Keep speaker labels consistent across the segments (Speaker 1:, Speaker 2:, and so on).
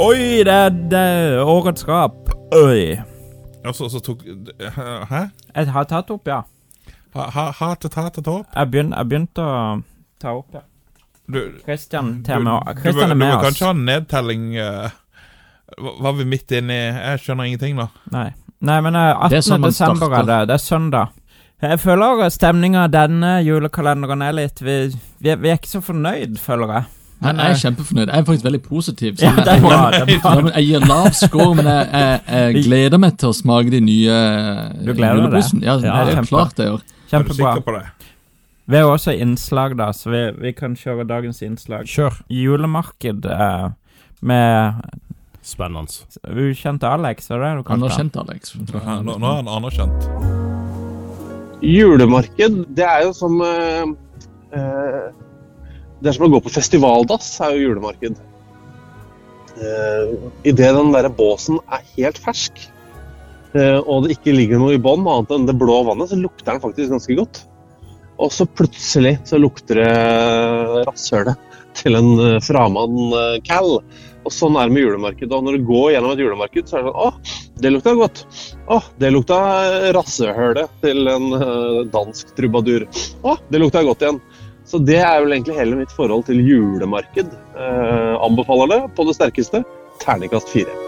Speaker 1: Oi, det er, det er årets rap. Oi.
Speaker 2: Og så, så tok Hæ?
Speaker 1: Jeg har tatt opp, ja.
Speaker 2: Ha- ha- Hatet, hatet, håp?
Speaker 1: Jeg begyn- jeg begynte å ta opp, ja.
Speaker 2: Du,
Speaker 1: Christian,
Speaker 2: du,
Speaker 1: tar med,
Speaker 2: du, bør-
Speaker 1: Christian
Speaker 2: du
Speaker 1: er med
Speaker 2: bør
Speaker 1: oss.
Speaker 2: kanskje ha en nedtelling eh, hva- Var vi midt inne i Jeg skjønner ingenting, da.
Speaker 1: Nei. Nei, men eh, 18.
Speaker 3: Det er sånn man
Speaker 1: desember er
Speaker 3: starter.
Speaker 1: det. Det er søndag. Jeg føler stemninga denne julekalenderen er litt vi, vi, vi er ikke så fornøyd, føler jeg.
Speaker 3: Men jeg er kjempefornøyd. Jeg er faktisk veldig positiv. så
Speaker 1: eh, Ja, det er bra.
Speaker 3: jeg,
Speaker 1: Det er bra.
Speaker 3: Ja, men jeg gir lav score, men jeg, jeg, jeg gleder meg til å smake de nye
Speaker 1: Du gleder deg?
Speaker 3: julebrusen. Ja,
Speaker 1: Ja,
Speaker 3: det er
Speaker 1: kjempe.
Speaker 3: jo klart jeg gjør.
Speaker 2: Er du
Speaker 1: Kjempebra.
Speaker 2: sikker på det?
Speaker 1: Vi har også innslag, da, så vi, vi kan kjøre dagens innslag.
Speaker 4: Kjør.
Speaker 1: Julemarked eh, med
Speaker 4: Spennende.
Speaker 1: ukjente Alex, er det du
Speaker 3: Han har
Speaker 1: kalte han?
Speaker 3: kjent Alex.
Speaker 2: Ja, Nå, nå er han anerkjent.
Speaker 5: Julemarked, det er jo som eh, eh, Det er som å gå på festivaldass, er jo julemarked. Uh, Idet den derre båsen er helt fersk, eh, og det ikke ligger noe i bånn annet enn det blå vannet, så lukter den faktisk ganske godt. Og så plutselig så lukter det rasshølet til en uh, framann eh, cal. Og sånn er det med julemarked. Og når du går gjennom et julemarked, så er det sånn Å, det lukta godt. Å, det lukta rassehølet til en eh, dansk trubadur. Å, det lukta godt igjen. Så det er vel egentlig hele mitt forhold til julemarked. Eh, anbefaler det på det sterkeste. Terningkast fire.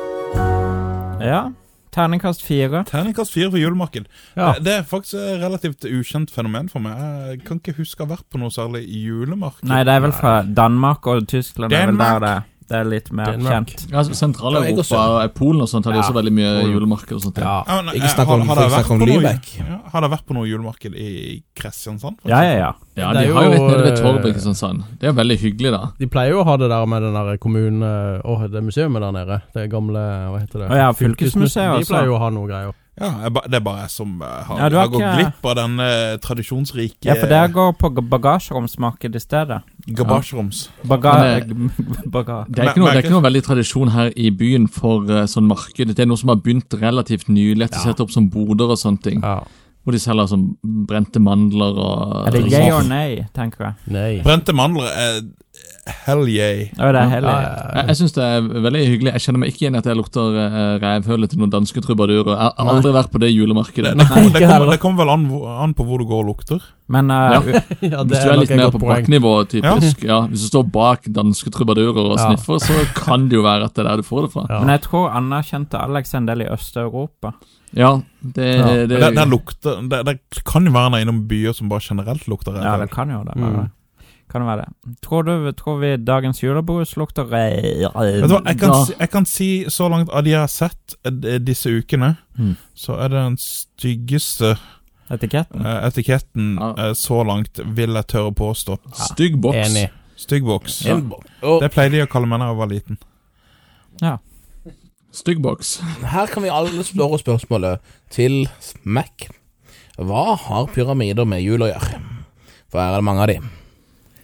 Speaker 1: Ja. Terningkast fire.
Speaker 2: Terningkast fire for julemarked.
Speaker 4: Ja.
Speaker 2: Det, det er faktisk et relativt ukjent fenomen for meg. Jeg kan ikke huske å ha vært på noe særlig julemarked.
Speaker 1: Nei, det er vel fra Danmark og Tyskland. Det er vel
Speaker 2: Danmark.
Speaker 1: der det, det er litt mer
Speaker 4: Danmark.
Speaker 1: kjent.
Speaker 3: Ja, altså, Sentral-Europa
Speaker 4: Ja,
Speaker 3: og Polen og sånt har de
Speaker 4: Ja.
Speaker 3: også veldig mye julemarked og sånt.
Speaker 4: Ja.
Speaker 2: Ja, men, eh,
Speaker 6: Ikke snakk om,
Speaker 2: har- har
Speaker 6: folk
Speaker 2: det vært
Speaker 6: snakker om
Speaker 2: på noe-
Speaker 6: Lybekk.
Speaker 2: Ja, har det vært på noe julemarked i Kristiansand? for
Speaker 1: Ja, ja, ja.
Speaker 3: Ja,
Speaker 4: Det
Speaker 3: de
Speaker 4: er
Speaker 3: har jo
Speaker 4: jo,
Speaker 3: litt nede ved
Speaker 4: eh,
Speaker 3: Torv i Kristiansand. Det er jo veldig hyggelig, da.
Speaker 4: De pleier jo å ha det der med den der kommune... Åh, det museet der nede. Det gamle Hva heter det?
Speaker 1: Å ja, fylkesmuseet altså.
Speaker 4: De
Speaker 1: også.
Speaker 4: pleier jo å ha noe greier.
Speaker 2: Ja, jeg ba- Det er bare jeg som eh, har,
Speaker 1: Ja, du har
Speaker 2: har gått
Speaker 1: ikke-
Speaker 2: glipp av den eh, tradisjonsrike
Speaker 1: Ja, for det går på bagasjeromsmarkedet i stedet.
Speaker 2: eh, gabasjeroms.
Speaker 1: Baga... baga.
Speaker 3: Det er,
Speaker 2: Men-
Speaker 3: ikke noe, det er
Speaker 2: merkes-
Speaker 3: ikke noe veldig tradisjon her i byen for eh, sånn marked. Det er noe som har begynt relativt nylig, at de setter opp sånn boder og sånne ting.
Speaker 4: Ja.
Speaker 3: Hvor de selger sånn brente mandler og
Speaker 1: Er det yay or nay, tenker jeg.
Speaker 4: Nei.
Speaker 2: Brente mandler er eh, hell yeah.
Speaker 1: Å, det er heller
Speaker 4: Ja, ja,
Speaker 3: Jeg, jeg syns det er veldig hyggelig. Jeg kjenner meg ikke igjen i at jeg lukter uh, revhøle til noen danske trubadurer. Jeg har aldri vært på det
Speaker 2: Det,
Speaker 3: julemarkedet.
Speaker 2: det, kommer- det, kommer,
Speaker 4: heller.
Speaker 2: det kommer vel an, hvor- an på hvor du går og lukter.
Speaker 1: Men eh,
Speaker 3: Ja.
Speaker 1: u-
Speaker 4: Ja, det
Speaker 3: Hvis du er
Speaker 4: nok
Speaker 3: litt
Speaker 4: et
Speaker 3: mer
Speaker 4: godt
Speaker 3: på
Speaker 4: poeng.
Speaker 3: bakknivå, typisk, ja. hvis du står bak danske trubadurer og
Speaker 4: Ja.
Speaker 3: sniffer, så kan det jo være at det er der du får det fra.
Speaker 4: Ja.
Speaker 1: men jeg tror anerkjente Alex en del i Øst-Europa.
Speaker 3: Ja, det,
Speaker 4: Ja.
Speaker 3: det,
Speaker 2: Det, det, lukter, det, det kan jo være en er innom byer som bare generelt lukter
Speaker 1: Ja,
Speaker 2: ræv.
Speaker 1: det kan jo det.
Speaker 4: Mm.
Speaker 1: være. Kan det være det. Tror du tror vi dagens julebrus lukter re-
Speaker 2: Vet du hva,
Speaker 1: re-
Speaker 2: jeg kan,
Speaker 3: Ja.
Speaker 2: si, jeg kan si så langt av de jeg har sett eh, d- disse ukene,
Speaker 1: Mm.
Speaker 2: så er det den styggeste
Speaker 1: etiketten?
Speaker 2: eh, etiketten
Speaker 3: Ja.
Speaker 2: eh, så langt, vil jeg tørre å påstå.
Speaker 3: Stygg boks.
Speaker 4: Enig.
Speaker 2: Stygg boks.
Speaker 4: Ja.
Speaker 2: Det pleide de å kalle meg da jeg var liten.
Speaker 3: Stygg boks.
Speaker 6: Her kan vi alle spørre spørsmålet til Mac. Hva har pyramider med jul å gjøre? For her er det mange av de.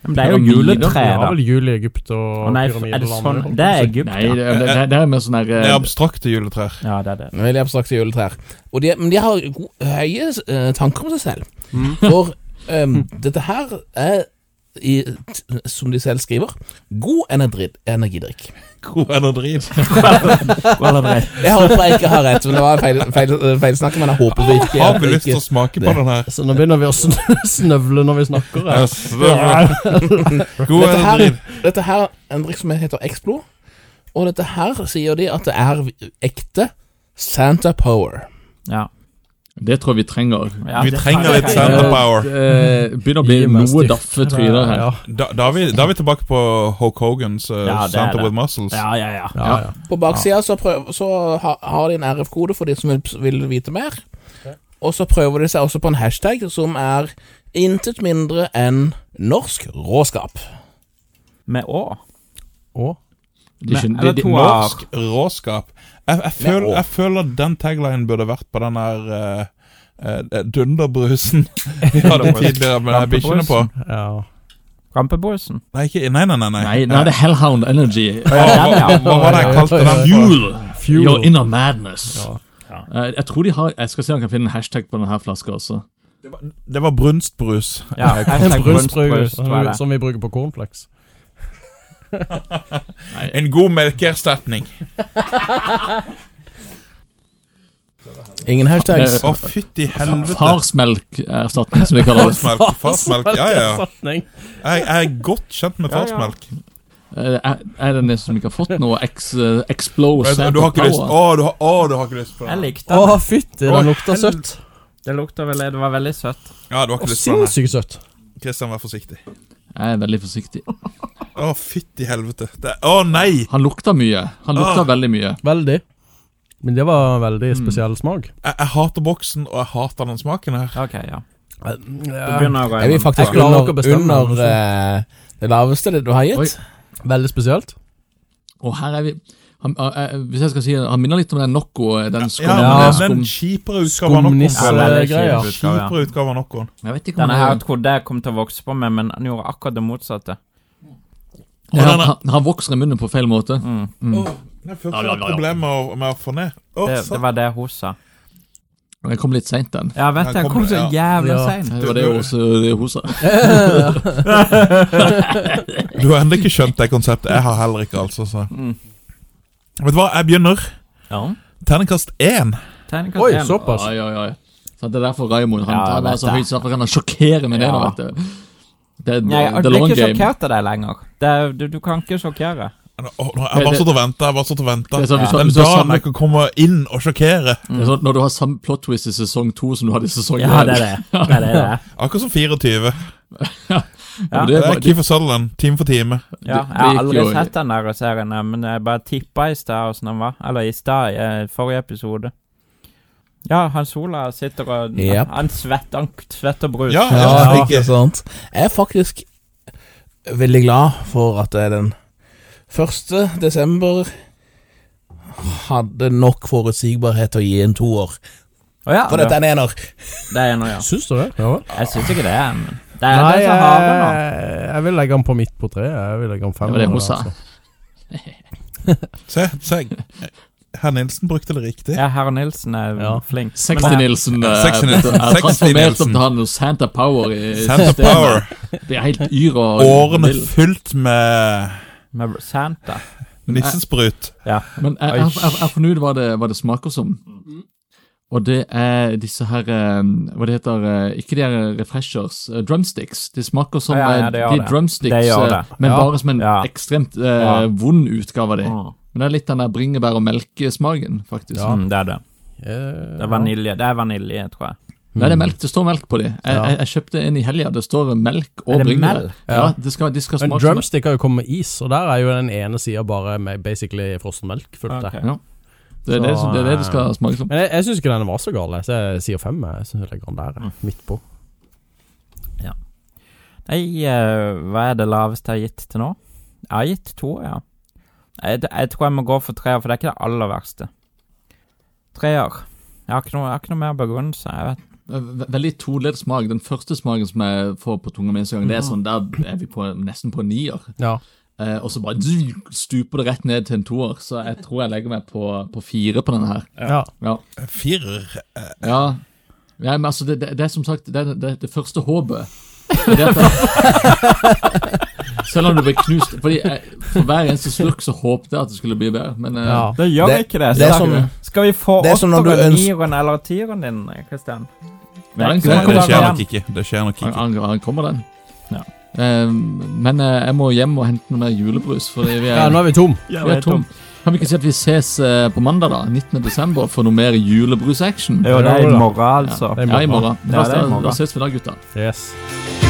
Speaker 1: Men det er jo
Speaker 3: Pyramider,
Speaker 1: juletre,
Speaker 4: Det
Speaker 1: da.
Speaker 4: var vel jul i Egypt og
Speaker 1: Å nei, f- er det
Speaker 4: pyramidelandet,
Speaker 1: sånn? Det
Speaker 4: holdt jeg på å
Speaker 1: er
Speaker 4: si.
Speaker 1: Egypt,
Speaker 3: Nei,
Speaker 1: ja.
Speaker 3: det, det, det er mer sånn her
Speaker 2: Det
Speaker 3: eh,
Speaker 2: er abstrakte juletrær.
Speaker 1: Ja, det er det.
Speaker 6: Veldig abstrakte juletrær. Og de, men de har go- høye eh, tanker om seg selv.
Speaker 2: Mm.
Speaker 6: For em, dette her er, i, t, som de selv skriver, god energi, energidrikk.
Speaker 2: Hvor er det drit?
Speaker 6: Jeg håper jeg ikke har rett, men det var feil, feil, feilsnakk. Men jeg håper vi ikke
Speaker 2: Har vi lyst til å smake på
Speaker 6: det.
Speaker 2: den her?
Speaker 4: Så nå begynner vi å sn- snøvle når vi snakker her.
Speaker 2: Hvor er
Speaker 6: Dette
Speaker 2: det
Speaker 6: her,
Speaker 2: drit?
Speaker 6: dette her er en drikk som heter Explo, og dette her sier de at det er ekte Santa Power.
Speaker 1: Ja.
Speaker 3: eh, Det tror jeg vi trenger.
Speaker 1: Ja,
Speaker 2: Vi
Speaker 1: det-
Speaker 2: trenger litt
Speaker 1: Ja,
Speaker 2: Santa Power.
Speaker 3: Eh, det begynner å bli
Speaker 4: Gi meg
Speaker 3: noe
Speaker 4: stygt.
Speaker 3: daffe tryner her.
Speaker 4: Ja,
Speaker 2: Da, da, er vi, da er vi tilbake på Hulk Hogans eh,
Speaker 1: Ja, det er
Speaker 2: Santa
Speaker 1: det.
Speaker 2: with Muscles.
Speaker 1: Ja, ja, ja.
Speaker 4: ja, ja.
Speaker 6: På baksida så, prøv, så ha, har de en RF-kode for de som vil, vil vite mer. Og så prøver de seg også på en hashtag som er intet mindre enn norsk råskap.
Speaker 1: Med å.
Speaker 4: Å,
Speaker 3: De,
Speaker 1: Men-
Speaker 3: skjønner-
Speaker 1: eller
Speaker 3: de,
Speaker 1: to av-
Speaker 3: de,
Speaker 2: Norsk råskap. Jeg, jeg, føler,
Speaker 6: år.
Speaker 2: jeg føler den taglinen burde vært på den der eh, eh, dunderbrusen vi hadde tidligere med de her bikkjene på.
Speaker 4: ja.
Speaker 1: Rampebrusen.
Speaker 2: Nei, ikke, nei, nei, nei. nei.
Speaker 3: nei, nei, det er Hellhound Energy.
Speaker 2: Hva, hva, hva var det jeg kalte den? for?
Speaker 3: Fuel your
Speaker 4: Fuel.
Speaker 3: inner madness.
Speaker 4: Ja.
Speaker 3: Eh, jeg tror de har Jeg skal se om jeg kan finne en hashtag på denne her flaska også.
Speaker 2: Det var brunstbrus.
Speaker 1: Ja,
Speaker 4: En
Speaker 1: hashtag
Speaker 4: brunstbrus
Speaker 1: brunstbrus, var det.
Speaker 4: som vi bruker på cornflakes.
Speaker 2: En god melkeerstatning.
Speaker 6: Ingen hashtags.
Speaker 2: Å, fytti helvete.
Speaker 3: Farsmelkerstatning, som de kaller det.
Speaker 2: Farsmelk. Farsmelk. Ja, ja. ja.
Speaker 4: Erstatning.
Speaker 2: Jeg, jeg er godt kjent med
Speaker 1: Ja, ja.
Speaker 2: farsmelk.
Speaker 3: Eh, Er, er det en som ikke har fått noe ex, eh, Explode
Speaker 2: Men Du har ikke lyst Å, du har, å, du har ikke lyst på
Speaker 1: Jeg
Speaker 2: den.
Speaker 1: likte
Speaker 4: Å,
Speaker 1: den.
Speaker 4: fytti,
Speaker 2: Å,
Speaker 4: den lukter
Speaker 2: helvete.
Speaker 4: søtt.
Speaker 1: Det lukta vel Det var veldig søtt.
Speaker 2: Ja, du har
Speaker 4: Å,
Speaker 2: ikke lyst på den.
Speaker 4: Sinnssykt søtt.
Speaker 2: Kristian, vær forsiktig.
Speaker 3: Jeg er veldig forsiktig.
Speaker 2: Å, fytti helvete. Det, å nei!
Speaker 3: Han lukta mye. Han lukta
Speaker 2: Ah.
Speaker 3: veldig mye.
Speaker 4: Veldig. Men det var en veldig spesiell smak.
Speaker 2: Jeg, jeg hater boksen, og jeg hater den smaken her.
Speaker 1: Ok, ja. Det
Speaker 4: Ja,
Speaker 1: begynner å gå
Speaker 6: Jeg vil
Speaker 1: innom.
Speaker 6: faktisk
Speaker 4: Jeg klarer ikke å
Speaker 6: under,
Speaker 4: bestemme,
Speaker 6: under
Speaker 4: sånn.
Speaker 6: eh, det laveste det du har
Speaker 3: Oi.
Speaker 6: gitt.
Speaker 4: veldig spesielt.
Speaker 3: Og her er vi han, eh, eh, Hvis jeg skal si det, han minner litt om den Nocco, eh, den skum,
Speaker 2: Ja,
Speaker 3: eh,
Speaker 2: men
Speaker 3: skum.
Speaker 2: den kjipere utgaven av Noccon.
Speaker 4: Skumnisse-
Speaker 2: føler jeg.
Speaker 1: veldig
Speaker 4: greier.
Speaker 1: kjip utgave, ja.
Speaker 2: Kjipere utgave av Noccon.
Speaker 3: Jeg vet ikke om
Speaker 1: Denne
Speaker 3: det-
Speaker 1: her trodde jeg kom til å vokse på meg, men han gjorde akkurat det motsatte.
Speaker 3: Ja, han, han, han vokser i munnen på feil måte.
Speaker 2: Åh, Det er første problemet med å, med å få ned. Åh,
Speaker 1: Det, det
Speaker 2: satan.
Speaker 1: var det hun sa.
Speaker 3: Og jeg kom litt seint, den.
Speaker 1: Ja, vet du,
Speaker 2: Her
Speaker 1: jeg kom
Speaker 2: kommer
Speaker 1: så
Speaker 2: det,
Speaker 1: jævlig
Speaker 4: Ja.
Speaker 1: seint.
Speaker 3: Det var det også det hun sa.
Speaker 2: Du har ennå ikke skjønt det konseptet. Jeg har heller ikke, altså. Så.
Speaker 3: Mm.
Speaker 2: Vet du hva, jeg begynner.
Speaker 1: Ja.
Speaker 2: Terningkast én.
Speaker 1: Terningkast
Speaker 4: Oi,
Speaker 1: én.
Speaker 4: såpass.
Speaker 3: Oi, oi, oi. Så det er derfor Raymond han,
Speaker 1: Altså. Ja, jeg
Speaker 3: han er
Speaker 1: vet
Speaker 3: så
Speaker 1: det.
Speaker 3: høy, så derfor kan han sjokkere med det. nå,
Speaker 1: Ja.
Speaker 3: vet du. Det er
Speaker 1: Nei, jeg
Speaker 3: the
Speaker 1: blir
Speaker 3: long
Speaker 1: ikke
Speaker 3: game.
Speaker 1: sjokkert av deg lenger. Det, er- du, du kan ikke sjokkere.
Speaker 2: Nå- åh, nå- Jeg har bare satt og venta. Jeg har bare satt og venta.
Speaker 3: Det er sånn, hvis du-
Speaker 2: Den
Speaker 3: hvis du har
Speaker 2: dagen
Speaker 3: samme-
Speaker 2: jeg kan komme inn og sjokkere.
Speaker 3: Det er sånn, når du har samme plot twist i sesong to som du hadde i sesong
Speaker 1: Ja, det er det. Det er det. det. er.
Speaker 2: Akkurat som 24.
Speaker 3: Ja,
Speaker 2: Det
Speaker 3: men det er
Speaker 2: er
Speaker 3: bare- det-
Speaker 2: Keefer Sutherland, time for time.
Speaker 1: Ja, jeg
Speaker 3: det
Speaker 1: har
Speaker 3: gikk
Speaker 1: aldri
Speaker 3: jo-
Speaker 1: sett den der serien, her, men jeg bare tippa i stad åssen den var. Eller i stad, i eh, forrige episode. Ja, han Sola sitter og
Speaker 6: Yep.
Speaker 1: Han svetter han svetter brus.
Speaker 2: Ja, ja,
Speaker 6: Ja,
Speaker 2: ja.
Speaker 6: ikke sant. Jeg er faktisk veldig glad for at jeg den 1. desember hadde nok forutsigbarhet til å gi en toer.
Speaker 1: Å ja,
Speaker 6: For dette er en ener.
Speaker 1: det er noe, ja.
Speaker 4: Syns du det? Ja. vel.
Speaker 1: Jeg syns ikke det, men Det er
Speaker 4: Nei,
Speaker 1: det
Speaker 4: jeg,
Speaker 1: som har det nå.
Speaker 3: eh,
Speaker 4: jeg vil legge den på midt på treet. Jeg vil legge den fem. altså.
Speaker 3: Det var det hun
Speaker 2: Se,
Speaker 3: sa.
Speaker 2: se. Herr Nilsen brukte det riktig.
Speaker 1: Ja, herr Nilsen er
Speaker 4: Ja.
Speaker 1: flink. Men-
Speaker 3: Sexy-Nilsen eh,
Speaker 2: Sexy-Nilsen.
Speaker 3: er transformert opp
Speaker 2: Sexy-Nilsen.
Speaker 3: til han og Santa Power. i
Speaker 2: Santa
Speaker 3: systemet.
Speaker 2: Power.
Speaker 3: Det er helt yr og
Speaker 2: Årene
Speaker 3: vill.
Speaker 2: fylt med
Speaker 1: Med Santa.
Speaker 2: nissesprut.
Speaker 3: Men jeg, jeg, jeg, jeg får nå ut hva det, hva det smaker som. Og det er disse her eh, Hva det heter eh, Ikke de her refreshers. eh, Drumsticks. De smaker som
Speaker 1: Ja, ja,
Speaker 3: eh,
Speaker 1: det gjør
Speaker 3: de
Speaker 1: det.
Speaker 3: drumsticks,
Speaker 1: Det gjør
Speaker 3: eh,
Speaker 1: det.
Speaker 3: men
Speaker 1: Ja.
Speaker 3: bare som en
Speaker 1: Ja.
Speaker 3: ekstremt eh,
Speaker 1: Ja.
Speaker 3: vond utgave av de.
Speaker 1: Mm.
Speaker 3: Men det er litt den der bringebær- og melkesmaken, faktisk.
Speaker 4: Ja.
Speaker 1: Mm, det er det. Det er
Speaker 4: Det
Speaker 1: vanilje, det er vanilje tror jeg.
Speaker 3: Nei, det er melk. Det står melk på de. Jeg,
Speaker 4: Ja.
Speaker 3: jeg, jeg kjøpte en i helga. Det står melk
Speaker 1: Er
Speaker 3: og
Speaker 1: det
Speaker 3: bringebær.
Speaker 1: melk?
Speaker 3: Ja, det skal, de skal
Speaker 4: Men
Speaker 3: smake som
Speaker 4: drumstick har jo kommet med is, og der er jo den ene sida bare med basically frossen melk. Fullt
Speaker 1: Ok.
Speaker 4: okay.
Speaker 3: det, er det, som- det er det
Speaker 1: Ah.
Speaker 3: det skal smake som.
Speaker 4: Men jeg, jeg syns ikke denne var så gal. jeg. Så jeg sier fem. Jeg synes jeg legger den der, jeg. midt på.
Speaker 1: Nei, eh, hva er det laveste jeg har gitt til nå? Jeg har gitt to, ja. Jeg, jeg tror jeg må gå for treer, for det er ikke det aller verste. Treer. Jeg har ikke noe, jeg har ikke noe mer begrunnelse. Jeg vet.
Speaker 3: Ve- Veldig todelt smak. Den første smaken som jeg får på tunga mi, en gang, det er sånn, der er vi på, nesten på en nier.
Speaker 4: Ja.
Speaker 3: Eh, og så bare zzz, stuper det rett ned til en toer, så jeg tror jeg legger meg på, på fire på denne her.
Speaker 4: ja.
Speaker 3: Ja.
Speaker 2: Firer.
Speaker 3: ja. ja men altså, det, det, det er som sagt det, er det, det første håpet. Det er det at jeg- Selv om det ble knust Fordi jeg, For hver eneste slurk så håpte jeg at det skulle bli bedre, men eh,
Speaker 4: ja.
Speaker 1: Det gjør
Speaker 6: Det-
Speaker 1: ikke det.
Speaker 6: det er
Speaker 1: så-
Speaker 6: som-
Speaker 1: skal vi få
Speaker 6: det er som når du
Speaker 1: åtteren,
Speaker 6: ønsker-
Speaker 1: nieren eller tieren din, Kristian?
Speaker 3: Ja, den-
Speaker 2: Det,
Speaker 3: den
Speaker 2: det
Speaker 3: kommer
Speaker 2: skjer
Speaker 3: den.
Speaker 2: nok ikke. Det skjer nok
Speaker 3: Han,
Speaker 2: ikke.
Speaker 3: han, han kommer, den.
Speaker 1: Ja.
Speaker 3: Eh, men eh, jeg må hjem og hente noe mer julebrus, fordi vi er
Speaker 4: ja, nå er vi tom.
Speaker 3: Vi er tom. Kan vi ikke si at vi ses eh, på mandag, da? 19. desember, for noe mer julebrusaction?
Speaker 1: Jo, det er
Speaker 4: Jo
Speaker 1: i
Speaker 4: da.
Speaker 1: morgen, altså.
Speaker 4: det er i
Speaker 3: Ja, i morgen.
Speaker 1: Ja,
Speaker 3: Da,
Speaker 1: det er i morgen.
Speaker 3: da ses vi da, gutta.
Speaker 4: Yes.